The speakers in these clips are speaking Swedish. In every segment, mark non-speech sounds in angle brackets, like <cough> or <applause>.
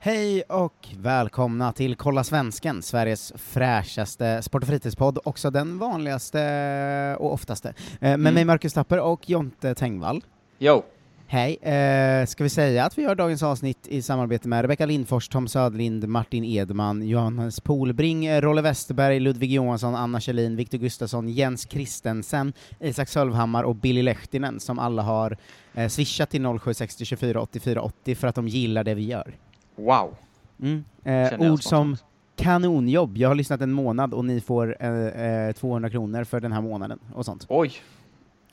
Hej och välkomna till Kolla Svensken, Sveriges fräschaste sport och fritidspodd, också den vanligaste och oftaste. Eh, Med Mm. mig Marcus Tapper och Jonte Tengvall. Jo, Hej! Eh, ska vi säga att vi gör dagens avsnitt i samarbete med Rebecka Lindfors, Tom Söderlind, Martin Edman, Johannes Polbring, eh, Rolle Westerberg, Ludvig Johansson, Anna Kjellin, Viktor Gustafsson, Jens Kristensen, Isak Sölvhammar och Billy Lehtinen som alla har eh, swishat till 0760 24 84 80 för att de gillar det vi gör. wow. Mm. Känner Eh, jag ord som spontant. kanonjobb, jag har lyssnat en månad och ni får eh, eh, 200 kronor för den här månaden och sånt. Oj,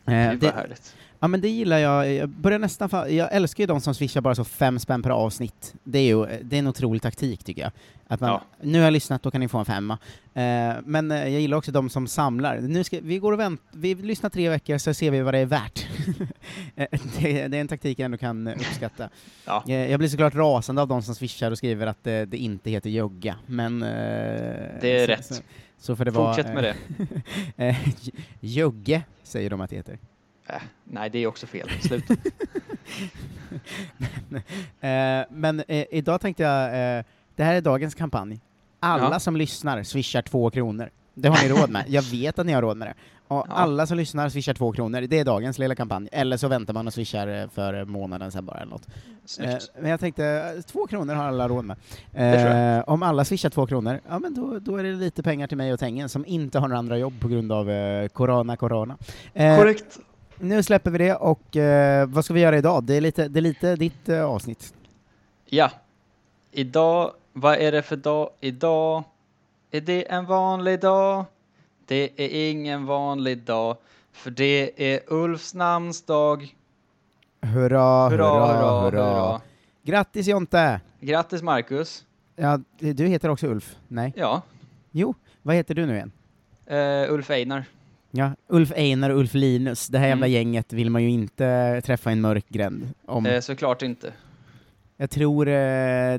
Eh, gud vad härligt. Ja men det gillar jag, jag börjar nästan fa- jag älskar ju de som swishar bara så fem spänn per avsnitt. Det är ju det är en otrolig taktik tycker jag. Att man, Ja. nu har jag lyssnat, då kan ni få en femma. Eh, men eh, jag gillar också de som samlar. Nu ska, vi går och vänt, vi lyssnar tre veckor så ser vi vad det är värt. <laughs> Eh, det, det är en taktik jag ändå kan eh, uppskatta. Ja. Eh, jag blir såklart rasande av de som swishar och skriver att eh, det inte heter jogga, men... eh, Det är så, rätt. Så, så får eh, det eh, vara... Fortsätt med det. det. <laughs> jogge, säger de att det heter. Äh, nej, det är också fel. Slut. <laughs> Eh, men eh, idag tänkte jag, eh, det här är dagens kampanj. Alla Ja. som lyssnar swishar två kronor. Det har ni råd med. Jag vet att ni har råd med det. Och Ja. Alla som lyssnar swishar två kronor. Det är dagens lilla kampanj. Eller så väntar man och swishar eh, för månaden sen bara eller något. Eh, Snyggt. men jag tänkte, eh, två kronor har alla råd med. tror Eh, om alla swishar två kronor, ja men då, då är det lite pengar till mig och Tengen som inte har några andra jobb på grund av eh, corona, corona. Eh, Korrekt. nu släpper vi det och eh, vad ska vi göra idag? Det är lite, det är lite ditt eh, avsnitt. Ja. Idag, vad är det för dag idag? Är det en vanlig dag? Det är ingen vanlig dag, för det är Ulfs namnsdag. Hurra, Hurra, hurra, hurra. Grattis Jonte! Grattis Marcus. Ja, du heter också Ulf? Nej? Ja, Jo, vad heter du nu igen? eh, Ulf Einar. Ja, Ulf Einar och Ulf Linus, det här jävla Mm. gänget vill man ju inte träffa i en mörk gränd. Om. Eh, såklart inte. Jag tror eh,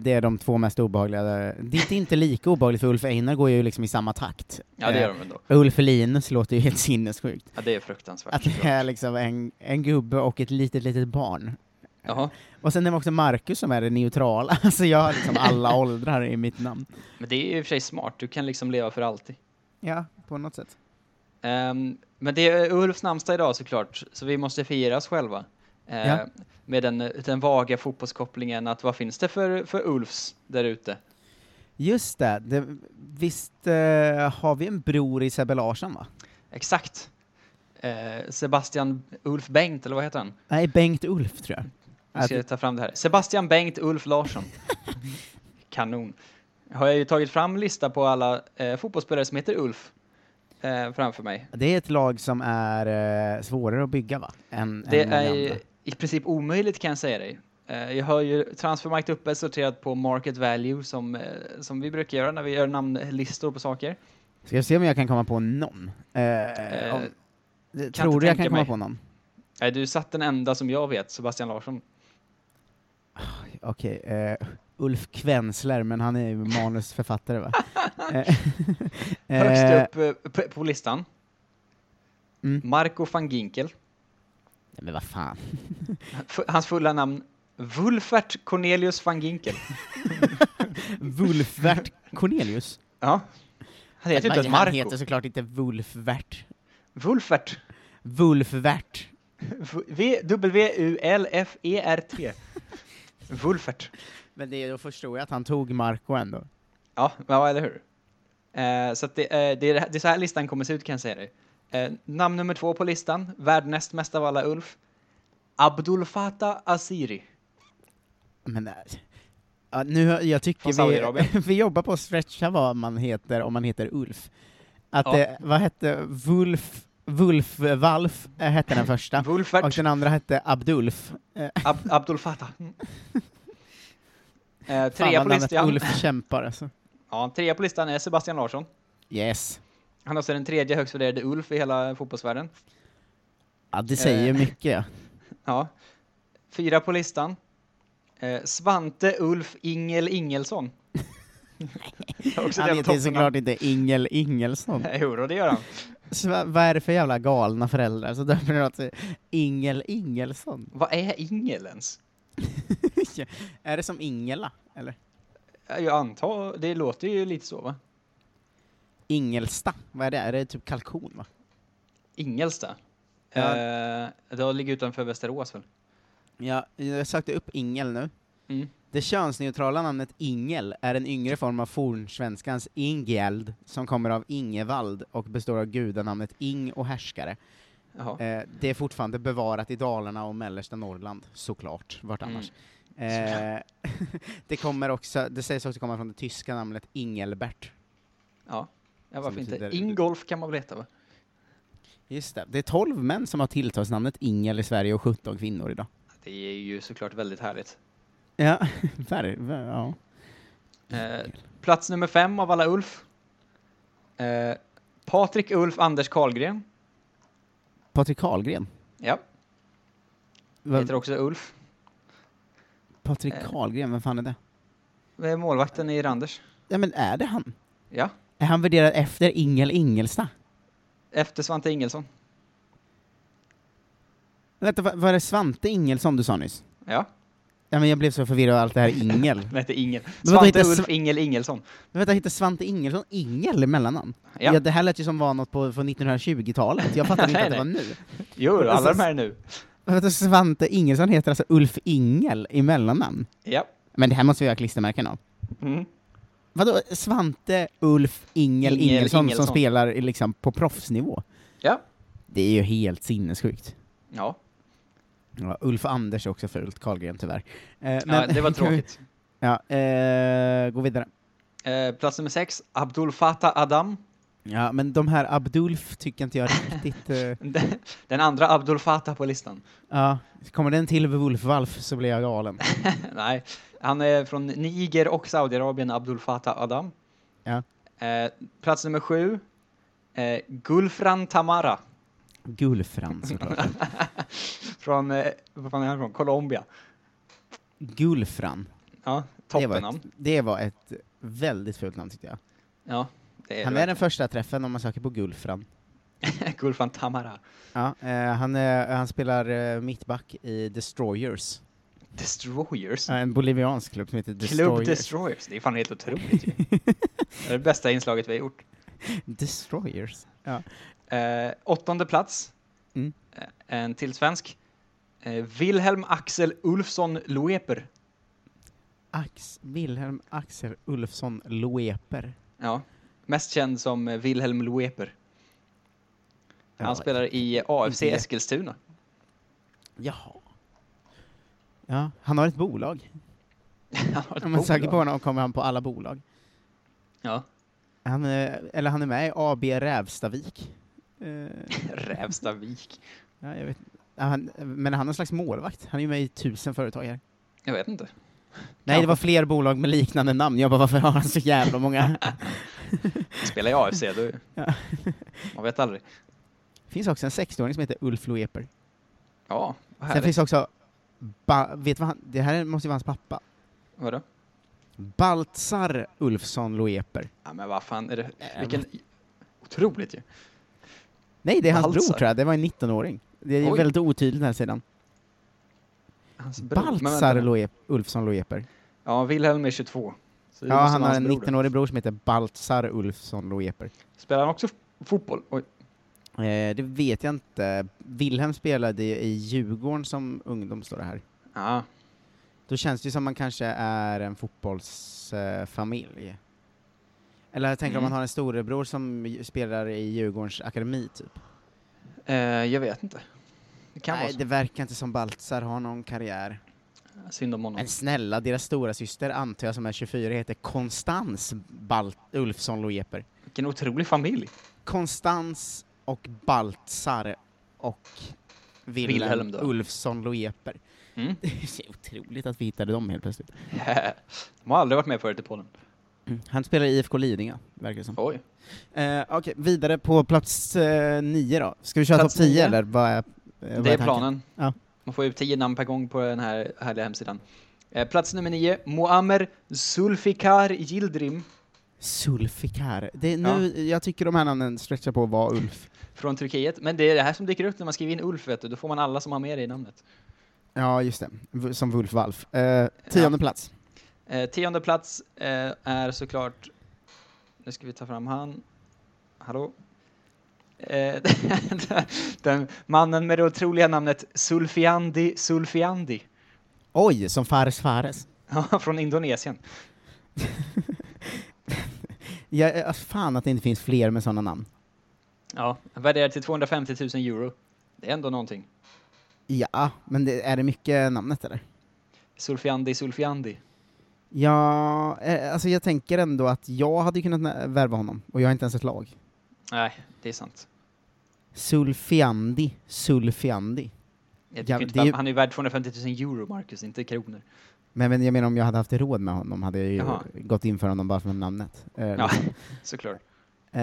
det är de två mest obehagliga. Det är inte lika obehagligt för Ulf Einar går ju liksom i samma takt. Ja, det Eh, gör de ändå. Ulf Linus låter ju helt sinnessjukt. Ja, det är fruktansvärt. Att det är liksom en, en gubbe och ett litet, litet barn. Jaha. Och sen är det också Marcus som är det neutrala, <laughs> alltså jag har liksom alla åldrar i mitt namn. Men det är i och för sig smart, du kan liksom leva för alltid. Ja, på något sätt. Ehm, men det är Ulfs namnsdag idag såklart, så vi måste fira oss själva. Ehm, Ja. Med den, den vaga fotbollskopplingen att vad finns det för, för Ulfs där ute? Just det, det visst eh, har vi en bror i Sebbe Larsson va? Exakt. Ehm, Sebastian Ulf Bengt, eller vad heter han? Nej, Bengt Ulf tror jag. Alltså, Jag ska Att- ta fram det här. Sebastian Bengt Ulf Larsson. Kanon. Har jag ju tagit fram lista på alla eh, fotbollsspelare som heter Ulf eh, framför mig. Det är ett lag som är eh, svårare att bygga va? Än, Det än många är andra. i princip omöjligt kan jag säga dig. Eh, Jag har ju Transfermarkt uppe sorterat på market value som, eh, som vi brukar göra när vi gör namnlistor på saker. Ska jag se om jag kan komma på någon? Eh, Eh, om, inte tror du jag tänka kan komma mig. på någon? Nej, Eh, du satt den enda som jag vet, Sebastian Larsson. Okej, eh, Ulf Kvensler, men han är ju manusförfattare <laughs> va? Eh, <laughs> eh, Högst upp eh, på, på listan. Mm. Marco van Ginkel. nej, Men vad fan. F- Hans fulla namn Wulfert Cornelius van Ginkel. Wulfvert Cornelius? Ja. Han heter ju inte ens han Marco. heter såklart inte Wulfvert. Wulfert. Wulfvert. V- V- W-U-L-F-E-R-T. E Wulfert. Men det, då förstår jag att han tog Marco ändå. Ja, ja eller hur? Eh, så att det, eh, det, är, det här- det är så här listan kommer se ut kan jag säga dig. Eh, namn nummer två på listan, värd näst mest av alla Ulf. Abdul Fattah Asiri. Men äh, ja, nu, har- jag Från tycker Saudiarabien. <laughs> vi, vi jobbar på att stretcha vad man heter om man heter Ulf. Att Ja. det, vad hette Wulf, Wulf, Valf äh, hette den första. Och Wulfert den andra hette Abdulf. Eh, Ab Abdul Fattah. Mm. Eh, Fan trea, vad på namnet listan, Ulf kämpar alltså. ja, trea på listan är Sebastian Larsson. Yes. Han är också den tredje högst värderade Ulf i hela fotbollsvärlden. Ja, det säger ju Eh. mycket. <laughs> ja. Ja. Fyra på listan. Eh, Svante Ulf <laughs> Ingel Ingelsson. Det är också ett Han heter jävla ju toppnamn. såklart inte Ingel Ingelsson. <laughs> Jo, det gör han. Så vad- vad är det för jävla galna föräldrar som döper något till Ingel Ingelsson? <laughs> Vad är Ingel ens? är det som Ingela, eller? jag antar, det låter ju lite så va? Ingelsta, vad är det? Är det typ kalkon va? Ingelsta? Ja. Eh, det ligger utanför Västerås väl? Ja, jag sökte upp ingel nu. Mm. Det könsneutrala namnet ingel är en yngre form av fornsvenskans ingeld, som kommer av Ingevald och består av gudanamnet Ing och härskare. Jaha. Eh, det är fortfarande bevarat i Dalarna och mellersta Norrland, såklart. Vart Mm. annars? Eh, <laughs> det, kommer också, det sägs också komma från det tyska namnet Ingelbert. Ja. ja, varför inte? betyder- Ingolf kan man väl heta va? Just det. Det är 12 män som har tilltalsnamnet Ingel i Sverige och 17 kvinnor idag. Det är ju såklart väldigt härligt. <laughs> Ja, ver, ver, ja. Eh, plats nummer fem av alla Ulf. Eh, Patrik Ulf Anders Karlgren. Patrik Karlgren. Ja, Va, heter också Ulf. Patrik eh. Karlgren, vem fan är det? Det är Målvakten i Randers. Ja, men är det han? Ja, Är han värderad efter Ingel Ingelsta? efter Svante Ingelsson. Vänta, va- var det Svante Ingelsson du sa nyss? Ja, Ja, men jag blev så förvirrad av allt det här Ingel. <laughs> han hette Ingel. vadå, Svante heter Ulf Sv- Ingel Ingelsson. Men vänta, hette Svante Ingelsson Ingel i mellannamn? Ja. Ja. det här lät ju som var något på, från 1920-talet, jag <laughs> fattade inte Nej, att det var nej. nu. Jo, alla Alltså, de här är nu. Men Vänta, Svante Ingelsson heter alltså Ulf Ingel i mellannamn? Ja. Men det här måste vi göra klistermärken av. Mm. Vadå, Svante Ulf Ingel, Ingel Ingelsson, Ingelsson. som spelar i liksom på proffsnivå? Ja. Det är ju helt sinnessjukt. Ja. Ja, Ulf Anders är också fult, Karlgren tyvärr. Eh, ja, <laughs> det var tråkigt. ja, eh, gå vidare. Eh, plats nummer sex, Abdul Fattah Adam. <laughs> Ja, men de här Abdulf tycker inte jag riktigt... eh, Den- Den andra Abdul Fattah på listan. <laughs> ja, kommer den till Wulf-Valf så blir jag galen. Nej, han är från Niger och Saudiarabien, Abdul Fattah Adam. Ja. Eh, plats nummer sju, eh, Gulfran Tamara. Gulfran <laughs> såklart. Från, eh, vad fan är han från? Colombia. Gulfran. Ja, Det var, toppennamn. ett, det var ett väldigt fult namn tyckte jag. Ja, det är Han det är den första träffen om man söker på Gulfran. verkligen. <laughs> Gulfran Tamara. Ja, eh, han, är, han spelar eh, mittback i Destroyers. Destroyers. Ja, En boliviansk klubb som heter Club Destroyers. Destroyers. Det är fan helt <laughs> otroligt ju. Det är det bästa inslaget vi har gjort. Destroyers. Ja. Eh, åttonde plats. Mm. Eh, en till svensk. Eh, Wilhelm Axel Ulfsson Loeper. Ax, Wilhelm Axel Ulfsson Loeper. Ja. Mest känd som eh, Wilhelm Loeper. Han Ja, spelar i eh, AFC inte- <laughs> Eskilstuna. Jaha. Ja, han har ett bolag. Han har ett Om man söker bolag. på honom kommer han på alla bolag. Ja. <laughs> Han, eh, eller han är med i AB Rävstavik. Eh, Rävstavik. Ja, jag vet. Ja, Han, men han är en slags målvakt. Han är ju med i tusen företag här. Jag vet inte. Nej, det var fler bolag med liknande namn. Jag bara, varför har han så jävla många? Spelar i AFC, då... <laughs> Ja. Man vet aldrig. Det finns också en 60-åring som heter Ulf Loeper. Ja, vad Sen härligt. finns också, ba, vet vad han, det här måste ju vara hans pappa. Vadå? Baltzar Ulfsson Loeper. Ja, men vad fan är det? Äh, Vilken... Otroligt ju. Nej, det är hans Baltzar? bror tror jag. Det var en 19-åring. Det är Oj. väldigt otydligt den här sidan. Hans bror. Men vänta Baltzar nu. Loep, Ulfsson Loeper. Ja, Wilhelm är 22. Så det Ja, måste han vara har hans en bror då. 19-årig bror som heter Baltzar Ulfsson Loeper. Spelar han också f- fotboll? Oj. Eh, det vet jag inte. Wilhelm spelade i Djurgården som ungdom, står det här. Ja, Då känns det ju som man kanske är en fotbollsfamilj. Eller jag tänker om Mm. man har en storebror som ju- spelar i Djurgårdens akademi, typ. eh, jag vet inte. Det kan vara Nej, så. det verkar inte som Baltzar har någon karriär. Synd om honom. Men snälla, deras stora syster antar jag som är 24 heter Konstans Bal- Ulfsson Loeper. Vilken otrolig familj. Konstans och Baltzar och Wilhelm, Wilhelm då. Ulfsson Loeper. <laughs> Mm. <laughs> Det är så otroligt att vi hittade dem helt plötsligt. Mm. De har aldrig varit med förut i Polen. Han spelar i IFK Lidingö, verkar det som. Oj. Eh, Okej, vidare på plats eh, nio då. Ska vi köra topp Plats 10 nio? eller vad är, eh, vad det är tanken? planen. Ja. Man får ut tio namn per gång på den här härliga hemsidan. Eh, plats nummer nio, Muammer Zulfikar Yildirim Sulfikar. Det är nu, Jag tycker de här namnen stretchar på vad Ulf. från Turkiet. Men det är det här som dyker upp när man skriver in Ulf, vet du. Då får man alla som har med det i namnet. Ja, just det. V- Som Wulf Walf. Eh, tionde plats. Eh, tionde plats eh, är såklart, nu ska vi ta fram han, hallå? Eh, <laughs> den mannen med det otroliga namnet Sulfiandi Sulfiandi. <laughs> Oj, som Fares Fares. Ja, från Indonesien. Ja, eh, fan att det inte finns fler med sådana namn. Ja, värderad till 250 000 euro. Det är ändå någonting. Ja, men det, är det mycket namnet eller? Sulfiandi Sulfiandi. Ja, eh, alltså jag tänker ändå att jag hade kunnat nä- värva honom, och jag har inte ens ett lag. Nej, det är sant. Sulfiandi, Sulfiandi. Jag Ja, tycker inte det är ju- bara- Han är ju värd 250 000 euro, Marcus, inte kronor. Men, men jag menar om jag hade haft råd med honom hade jag ju Jaha. gått in för honom bara för namnet. Eh, Ja, såklart. eh,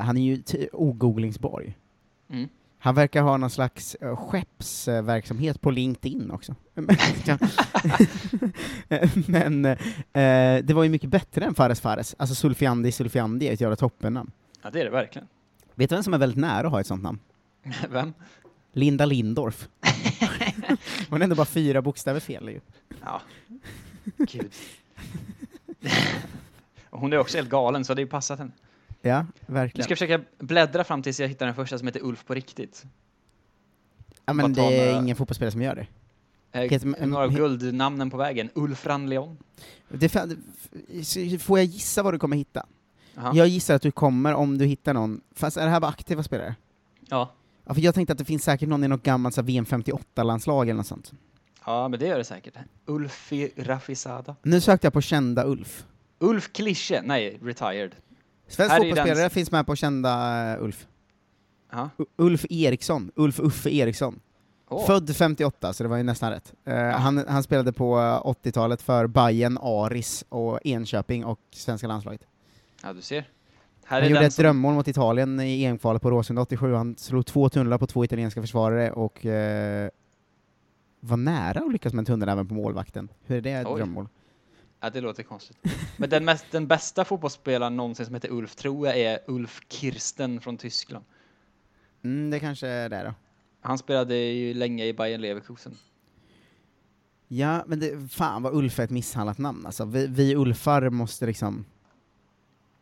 han är ju ty- ogooglingsbar ju. Mm. Han verkar ha någon slags eh, skeppsverksamhet på LinkedIn också. <laughs> Men- Men eh, det var ju mycket bättre än Fares Fares. Alltså Sulfiandi Sulfiandi är ett jävla toppennamn. Ja, det är det verkligen. <laughs> Vet du vem som är väldigt nära att ha ett sånt namn? Vem? Linda <laughs> Lindorff. Hon är ändå bara fyra bokstäver fel ju. Ja. Gud. <laughs> Och Hon är också helt galen, så det har ju passat henne. Ja, Jag verkligen. ska försöka bläddra fram tills jag hittar den första som heter Ulf på riktigt. ja, men bara ta det är några- ingen fotbollsspelare som gör det. Eh, Heter- men- några av he- guldnamnen på vägen. Ulf Ranleon. det fa- f- får jag gissa vad du kommer hitta? Jaha. Jag gissar att du kommer, om du hittar någon, fast är det här bara aktiva spelare? Ja. Ja, för jag tänkte att det finns säkert någon i något gammalt så här VM 58-landslag eller något sånt. ja, men det gör det säkert. Ulfi Rafisada. Nu sökte jag på kända Ulf. Ulf Klische. Nej, retired. Svensk Här är fotbollsspelare den- finns med på kända eh, Ulf. Ja. U- Ulf Eriksson, Ulf Uffe Eriksson. Åh. Född 58, så det var ju nästan rätt. Eh, han, han spelade på eh, 80-talet för Bayern, Aris och Enköping och svenska landslaget. Ja, du ser. Här Han är gjorde den ett som... drömmål mot Italien i EM-kvalet på Råsunda 87. Han slog två tunnlar på två italienska försvarare och eh, var nära att lyckas med en tunnel även på målvakten. Hur är det ett Oj. drömmål? Ja, det låter konstigt. Men den, mest, den bästa fotbollsspelaren någonsin som heter Ulf tror jag är Ulf Kirsten från Tyskland. Mm, det kanske är det då. Han spelade ju länge i Bayern Leverkusen. Ja, men det, fan vad Ulf är ett misshandlat namn alltså. Vi, vi Ulfar måste liksom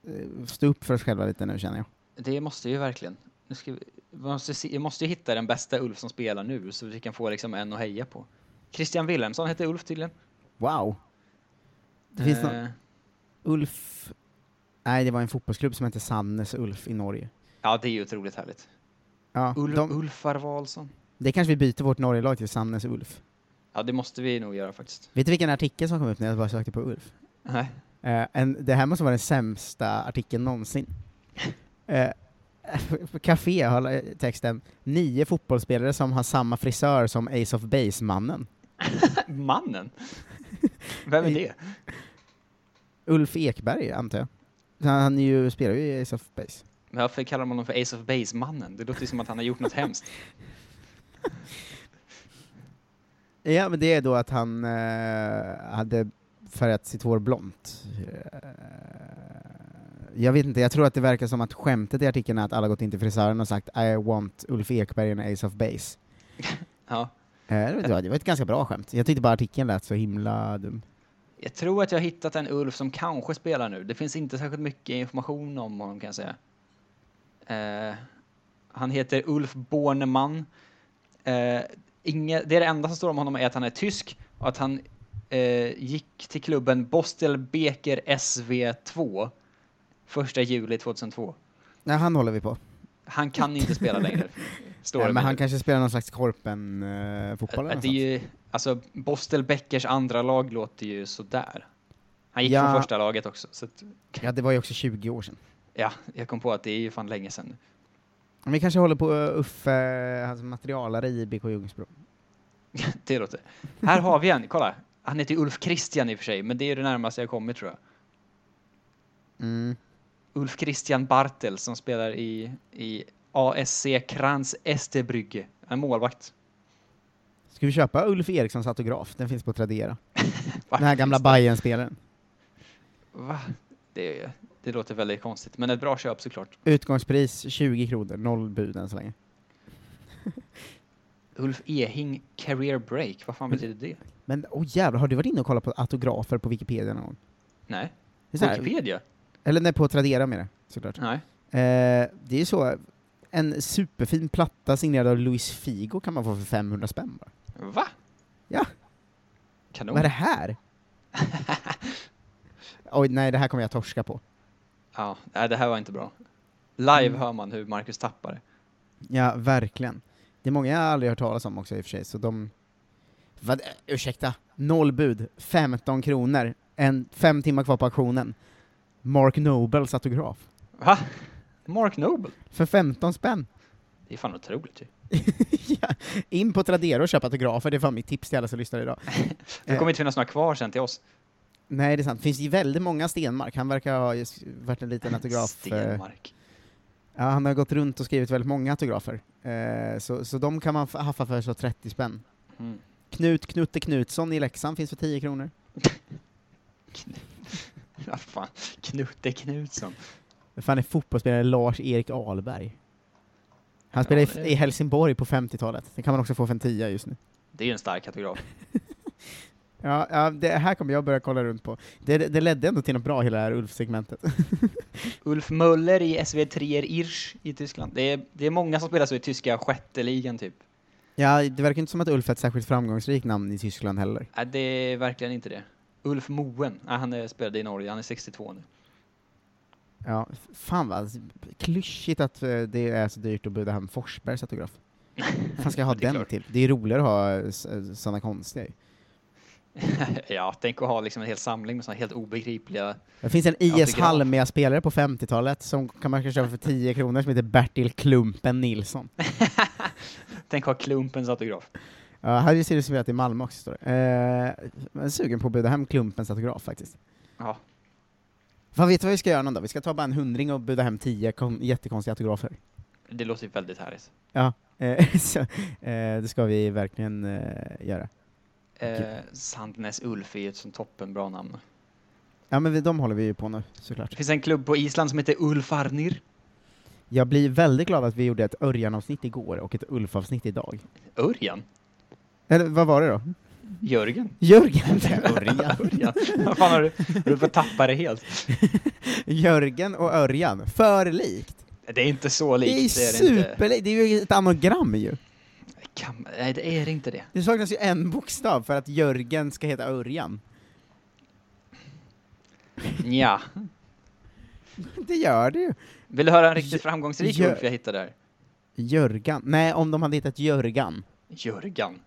eh, stå upp för oss själva lite nu känner jag. Det måste ju verkligen. Nu ska vi, vi måste se, jag måste ju hitta den bästa Ulf som spelar nu så vi kan få liksom en att heja på. Christian Wilhelmsson hette Ulf tydligen. Wow! Det finns någon, Eh, Ulf... Nej, det var en fotbollsklubb som hette Sannes Ulf i Norge. Ja, det är ju otroligt härligt. Ja, Ulf, de, Ulfar Wahlsson. det kanske vi byter vårt Norge-lag till Sannes Ulf. Ja, det måste vi nog göra faktiskt. Vet du vilken artikel som kom upp när jag bara sökte på Ulf? Nej. <laughs> Eh, en, det här måste vara den sämsta artikeln någonsin. Eh, på Café har eh, texten “Nio fotbollsspelare som har samma frisör som Ace of Base-mannen”. Mannen? Vem är det? Ulf Ekberg, antar jag. Han, han är ju, spelar ju i Ace of Base. Men Varför kallar man honom för Ace of Base-mannen? Det låter ju som att han har gjort något hemskt. Ja, men det är då att han eh, hade färgat sitt hår blont. Eh, jag vet inte, jag tror att det verkar som att skämtet i artikeln är att alla gått in till frisören och sagt I want Ulf Ekberg and Ace of Base. Ja. Eh, det var- det var ett ganska bra skämt. Jag tyckte bara artikeln lät så himla dum. Jag tror att jag har hittat en Ulf som kanske spelar nu. Det finns inte särskilt mycket information om honom kan jag säga. Eh, han heter Ulf Bornemann. Eh, inge, det är det enda som står om honom är att han är tysk och att han eh, gick till klubben Bostel Beker SV2 första juli 2002. Nej, han håller vi på. Han kan inte spela längre. Står Nej, det men han nu. kanske spelar någon slags eh, korpen-fotboll Att- att det är ju, alltså, Bostel Beckers andra lag låter ju sådär. Han gick Ja. från första laget också. Så att, Ja, det var ju också 20 år sedan. Ja, jag kom på att det är ju fan länge sedan. <laughs> Men vi kanske håller på eh, Uffe, hans materialare i BK Ljungsbro. Det låter. Här har vi en, kolla. Han heter ju Ulf Christian i och för sig, men det är ju det närmaste jag kommit tror jag. Mm. Ulf Christian Bartel som spelar i, i ASC Kranz Estebrygge. En målvakt. Ska vi köpa Ulf Erikssons autograf? Den finns på Tradera. Va? Den här gamla Bayern-spelaren. Va? Det, är- det låter väldigt konstigt, men ett bra köp såklart. Utgångspris 20 kronor, noll bud än så länge. Ulf Ehing career break. Vad fan betyder det? Men åh jävlar, har du varit inne och kollat på autografer på Wikipedia någon gång? Nej. Det är så här- Wikipedia? Eller nej, på Tradera med det, såklart. Nej. Eh, det är så, en superfin platta signerad av Luis Figo kan man få för 500 spänn bara. Va? Ja. Kanon. Vad är det här? Oj, nej, det här kommer jag torska på. Ja, nej, det här var inte bra. Live Mm. hör man hur Marcus tappar det. Ja, verkligen. Det är många jag aldrig hört talas om också i och för sig, så de... Vad, eh, ursäkta, noll bud, 15 kronor, en, fem timmar kvar på auktionen. Mark Nobels autograf. Va? Mark Noble? För 15 spänn! <laughs> Det är fan otroligt ju. ja. In på Tradera och köp autografer, det är fan mitt tips till alla som lyssnar idag. Eh. Det kommer inte finnas några kvar sen till oss. Nej, det är sant. Finns ju väldigt många Stenmark. Han verkar ha just varit en liten autograf... eh, Stenmark. Ja, han har gått runt och skrivit väldigt många autografer. Eh, så, så de kan man f- haffa för så 30 spänn. Mm. <laughs> Knut Knutte Knutsson i Leksand finns för 10 kronor. Vad fan. Knutte Knutsson. Vem fan är fotbollsspelare Lars-Erik Ahlberg? Han spelade Ja, i, det- i Helsingborg på 50-talet. Det kan man också få för en tia just nu. Det är ju en stark autograf. Ja, ja, det här kommer jag börja kolla runt på. Det, det ledde ändå till något bra, hela det här Ulf-segmentet. Ulf Möller i SV3 Irsch i Tyskland. Det är, det är många som spelar så i tyska sjätteligan typ. ja, det verkar inte som att Ulf är ett särskilt framgångsrikt namn i Tyskland heller. Nej, det är verkligen inte det. Ulf Moen, nej, han är, spelade i Norge, han är 62 nu. <laughs> Ja, f- fan vad klyschigt att eh, det är så dyrt att buda hem Forsbergs <laughs> autograf. Vad fan ska jag ha Det är den klart. till? Det är ju roligare att ha eh, s- eh, såna konstiga ju. ja, tänk att ha liksom en hel samling med sådana helt obegripliga... Det finns en Autograf. IS Halmia-spelare på 50-talet som kan man kanske köpa för 10 kronor som heter Bertil Klumpen Nilsson. Tänk att ha Klumpens autograf. Ja, här ser det som att det är Malmö också står det. Eh, jag är sugen på att buda hem Klumpens autograf faktiskt. Ja, Fan, vet du vad vi ska göra någon dag? Vi ska ta bara en hundring och buda hem 10 kon- jättekonstiga autografer. det låter ju väldigt härligt. Ja, eh, <laughs> så, eh, det ska vi verkligen eh, göra. Eh, Sandnes Ulf är ju ett sånt toppenbra namn. Ja, men vi, de håller vi ju på nu, såklart. Det finns en klubb på Island som heter Ulfarnir. Jag blir väldigt glad att vi gjorde ett Örjan-avsnitt igår och ett Ulf-avsnitt idag. Örjan? Eller vad var det då? Jörgen? Jörgen! Örjan. <laughs> Örjan? <laughs> Vad fan har du? Har du fått tappa det helt? Jörgen och Örjan, för likt. Det är inte så likt. det är det är det inte. superlikt, det är ju ett anagram ju. Kan, nej, det är inte det. Det saknas ju en bokstav för att Jörgen ska heta Örjan. <laughs> Nja. Det gör det ju. Vill du höra en Jö- riktigt framgångsrik Jö- Ulf jag hittade där? Jörgan. Nej, om de hade hittat Jörgan. <laughs> Jörgan.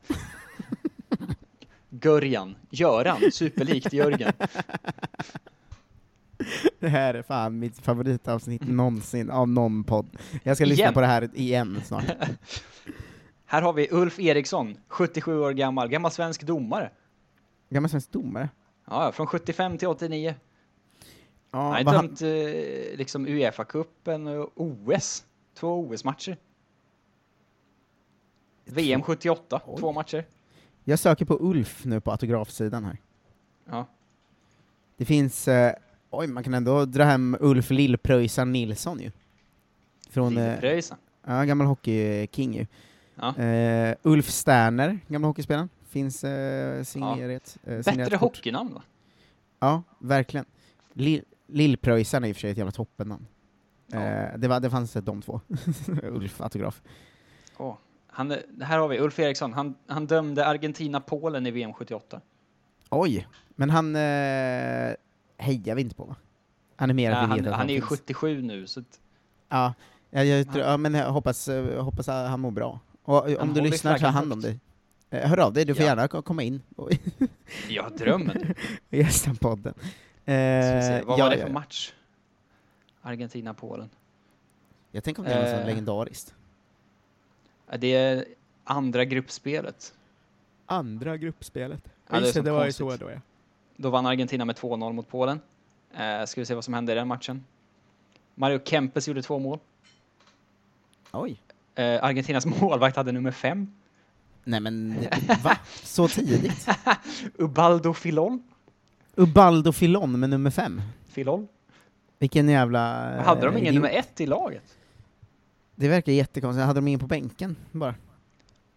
Görjan. Göran. Superlikt Jörgen. Det här är fan mitt favoritavsnitt någonsin av någon podd. Jag ska lyssna Mm. Igen. på det här igen <laughs> snart. Här har vi Ulf Eriksson, 77 år gammal, gammal svensk domare. Gammal svensk domare. Ja, ja, från 75 till 89. Ja, Han har vad han- dömt eh, liksom Uefa-cupen och OS. Två OS-matcher. VM 78, Oj. två matcher. Jag söker på Ulf nu på autografsidan här. Ja. Det finns, eh, oj man kan ändå dra hem Ulf Lillpröjsarn Nilsson ju. Från, eh, Lillepröjsa. ja, gammal hockeyking ju. Ja. Eh, Ulf Sterner, gamla hockeyspelaren, finns eh, signerat. eh, signerat Bättre kort. hockeynamn va? Ja, verkligen. Lill- Lillpröjsarn är i och för sig ett jävla toppennamn. Ja. Eh, det, var, det fanns eh, de två. <laughs> Ulf-autograf. Åh. Han, eh, här har vi Ulf Eriksson. Han, han dömde Argentina-Polen i VM 78. Oj! Men han eh, hejar vi inte på va? Han är mer Nej, att vi han, vet att han är ju finns. 77 nu, så att Ja, jag, jag, tror, Han- ja men jag hoppas, eh, hoppas att han mår bra. Och, eh, om du håller lyssnar, ta flaggan hand om högt. dig. Eh, Hör av dig, du får Ja. gärna ko- komma in och <laughs> jag har drömmen. och gästa podden. <laughs> Eh, Ska vi se, Vad ja, var det ja, för ja. match? Argentina-Polen. Jag tänker om det är något sånt Eh. legendariskt. Ja, Det är andra gruppspelet. Andra gruppspelet. Ja, det är så konstigt. då ja. Då vann Argentina med 2-0 mot Polen. Eh, ska vi se vad som hände i den matchen. Mario Kempes gjorde två mål. Oj. Eh, Argentinas <laughs> målvakt hade nummer fem. Nej men, det- va? Så tidigt? Ubaldo Filol. Ubaldo Filon med nummer fem. Filol. Vilken jävla... eh, Hade de ingen idiot. nummer ett i laget? Det verkar jättekonstigt. Hade de ingen på bänken bara?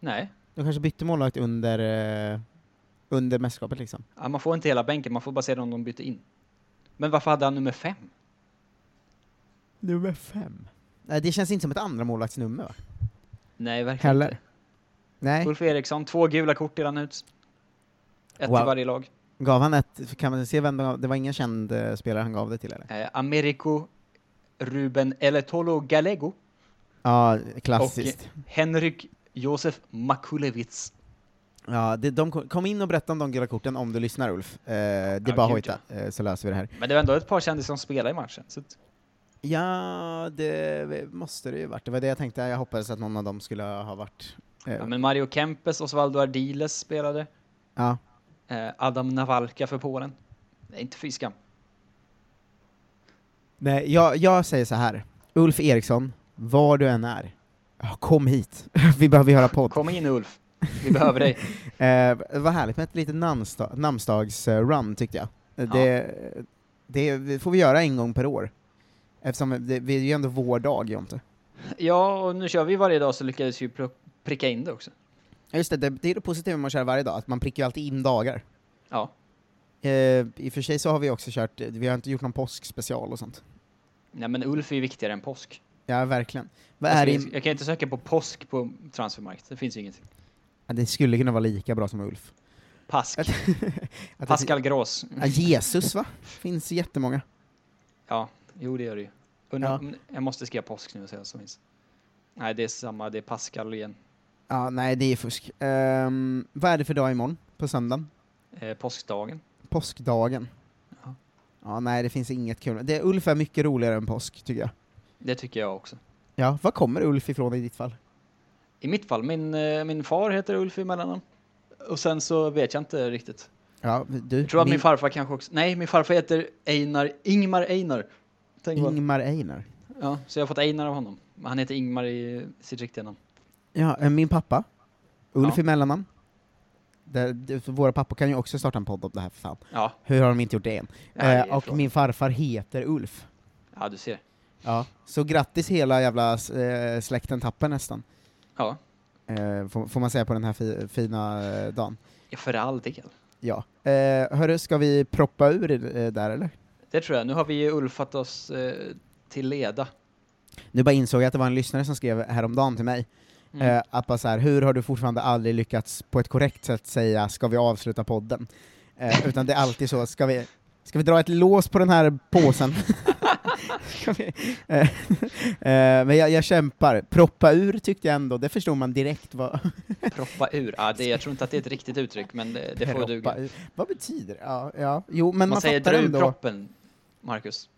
Nej. De kanske bytte målvakt under, eh, under mästerskapet liksom. Ja, man får inte hela bänken, man får bara se om de byter in. Men varför hade han nummer fem? Nummer fem. Nej, det känns inte som ett andra målvaktsnummer va? Nej, verkligen Heller. inte. Nej. Ulf Eriksson, två gula kort delade han ut. Ett Wow. i varje lag. Gav han ett, kan man se vem de gav? Det var ingen känd eh, spelare han gav det till eller? Eh, Americo Ruben Eletolo Gallego Ja, och klassiskt. Henrik Josef Makulevits. Ja, det, de kom- kom in och berätta om de gula korten om du lyssnar Ulf. Eh, det är Ja, bara att gud, hojta, eh, så löser vi det här. Men det var ändå ett par kändisar som spelade i matchen. Så att, Ja, det måste det ju varit. Det var det jag tänkte, jag hoppades att någon av dem skulle ha varit... Eh, ja, ja, men Mario Kempes, Osvaldo Ardiles spelade. ja. Eh, Adam Nawalka för Polen. Nej, inte fy skam. Nej, jag, jag säger så här. Ulf Eriksson, var du än är, ja, kom hit. <laughs> vi behöver göra podd. Kom in Ulf, vi <laughs> behöver dig. Eh, vad härligt med ett litet namnsdag, namnsdagsrun tyckte jag. Eh, Ja. Det, det får vi göra en gång per år. Eftersom det, det är ju ändå vår dag, Jonte. Ja, och nu kör vi varje dag så lyckades vi pro- pricka in det också. Ja, Just det, det, det är det positiva med att köra varje dag, att man prickar ju alltid in dagar. Ja, Eh, I och för sig så har vi också kört, eh, vi har inte gjort någon påskspecial och sånt. nej men Ulf är ju viktigare än påsk. Ja, verkligen. Vad Jag, är ska, det, jag kan inte söka på påsk på transfermarkt, det finns ju ingenting. Ja, det skulle kunna vara lika bra som Ulf. <laughs> Pask, Att- Att Pascal Grås. Det, ja, Jesus va? Finns jättemånga. Ja, jo det gör det ju. Undra, Ja. om- Jag måste skriva påsk nu och se vad som finns. Nej, det är samma, det är Pascal igen. Ja, nej det är fusk. Ehm, vad är det för dag imorgon? På söndagen? Eh, påskdagen. Påskdagen. Ja. Ja, nej det finns inget kul. Det, Ulf är mycket roligare än påsk, tycker jag. Det tycker jag också. Ja, var kommer Ulf ifrån i ditt fall? I mitt fall, min, eh, min far heter Ulf i mellannamn. Och sen så vet jag inte riktigt. Ja, du, Jag tror att min farfar kanske också... Nej, min farfar heter Einar, Ingmar Einar. Tänk vad- Ingmar Einar. Ja, så jag har fått Einar av honom. Men Han heter Ingmar i sitt riktiga namn. Ja, eh, min pappa. Ulf Ja. i mellannamn. Där- det- för Våra pappor kan ju också starta en podd om det här för fan. Ja, Hur har de inte gjort det än? Ja, det är eh, och frågan. min farfar heter Ulf. ja du ser. Ja. Så grattis hela jävla eh, släkten Tapper nästan. Ja, Eh, får, får man säga på den här fi, fina eh, dagen. för all del. Ja. Eh, hörru, ska vi proppa ur eh, där eller? Det tror jag. Nu har vi ju ulfat oss eh, till leda. Nu bara insåg jag att det var en lyssnare som skrev häromdagen till mig, Mm. eh, att bara så här, hur har du fortfarande aldrig lyckats på ett korrekt sätt säga ”ska vi avsluta podden?” <laughs> eh, Utan det är alltid så, ska vi, ska vi dra ett lås på den här <laughs> påsen? ska vi, eh, <laughs> eh, men jag, jag kämpar. Proppa ur tyckte jag ändå, det förstod man direkt vad... Eh, Proppa ur. Ja, det, jag tror inte att det är ett riktigt uttryck, men det, <laughs> det får proppa duga. Man, ur. Vad betyder det? Ja, ja. Jo, men man, säger dra fattar ur ändå. proppen, Marcus.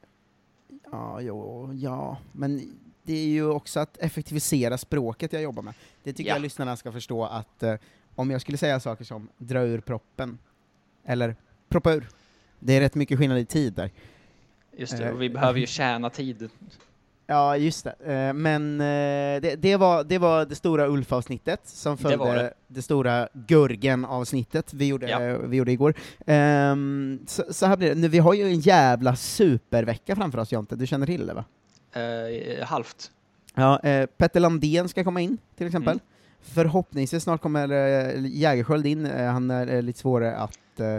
Ja, jo, ja, men det är ju också att effektivisera språket jag jobbar med. Det tycker Ja. jag lyssnarna ska förstå att eh, om jag skulle säga saker som dra ur proppen, eller proppa ur, det är rätt mycket skillnad i tid där. Just det, Eh, och vi behöver ju tjäna tid. Ja, just det. Eh, men eh, det, det, var, det var det stora Ulf-avsnittet som Det följde var det, det. stora Gurgen-avsnittet vi gjorde, Ja. vi gjorde igår. Ehm, så, så här blir det. Nu, vi har ju en jävla supervecka framför oss, Jonte. Du känner till det, va? Eh, halvt. Ja, eh, Petter Landén ska komma in, till exempel. Mm. Förhoppningsvis snart kommer eh, Jägerskiöld in, eh, han är eh, lite svårare att... Eh,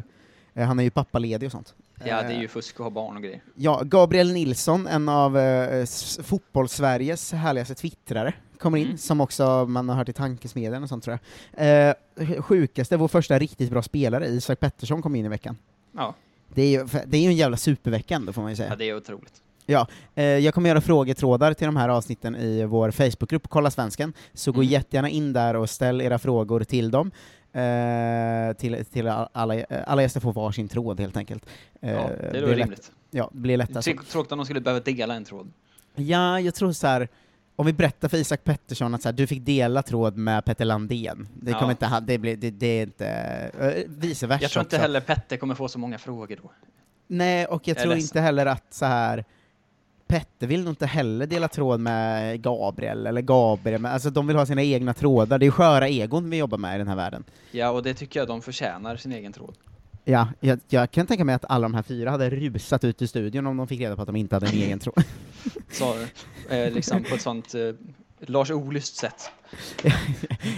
eh, han är ju pappaledig och sånt. Ja, det är Eh, ju fusk att ha barn och grejer. ja, Gabriel Nilsson, en av eh, s- fotbollssveriges härligaste twittrare, kommer in, Mm. som också man har hört i tankesmedjan och sånt tror jag. Eh, sjukaste, vår första riktigt bra spelare, Isak Pettersson, kom in i veckan. Ja, Det är ju, det är ju en jävla supervecka ändå, får man ju säga. ja det är otroligt. Eh, Jag kommer göra frågetrådar till de här avsnitten i vår Facebookgrupp Kolla Svensken, så gå Mm. jättegärna in där och ställ era frågor till dem. Eh, till, till alla, eh, alla gäster får varsin tråd helt enkelt. Eh, Ja, det är då blir lätt- rimligt. Ja, det blir lättast. Tråkigt tråkigt om de skulle behöva dela en tråd. Ja, jag tror så här. om vi berättar för Isak Pettersson att så här, du fick dela tråd med Petter Landén, det Ja. kommer inte han, det, blir, det, det är inte, eh, vice versa Jag tror inte också. heller Petter kommer få så många frågor då. Nej, och jag, Jag är tror ledsen. inte heller att så här Petter vill nog inte heller dela tråd med Gabriel, eller Gabriel, men alltså de vill ha sina egna trådar, det är ju sköra egon vi jobbar med i den här världen. Ja, och det tycker jag de förtjänar, sin egen tråd. Ja, jag, jag kan tänka mig att alla de här fyra hade rusat ut <laughs> ur studion om de fick reda på att de inte hade en egen tråd. Så, eh, liksom på ett sånt eh, Lars Olyst sätt.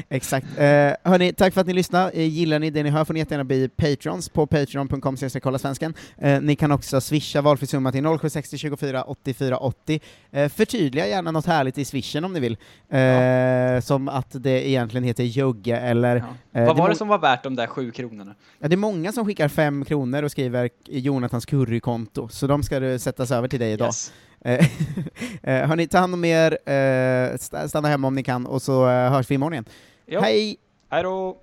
Exakt. Eh, hörni, tack för att ni lyssnade. Eh, gillar ni det ni hör får ni jättegärna bli patrons på patreon.com kolla svensken. Eh, ni kan också swisha valfri summa till 0760 24 84 80. Eh, förtydliga gärna något härligt i swishen om ni vill. Eh, Som att det egentligen heter jugge eller... Ja. eh, Vad var må- det som var värt de där sju kronorna? Ja, det är många som skickar fem kronor och skriver Jonathans currykonto, så de ska du sättas över till dig idag. Yes. Eh, <laughs> eh, hörni, ta hand om er, eh, sta- stanna hemma om ni kan, och så eh, hörs vi imorgon igen. Jo, Hej! Hej då!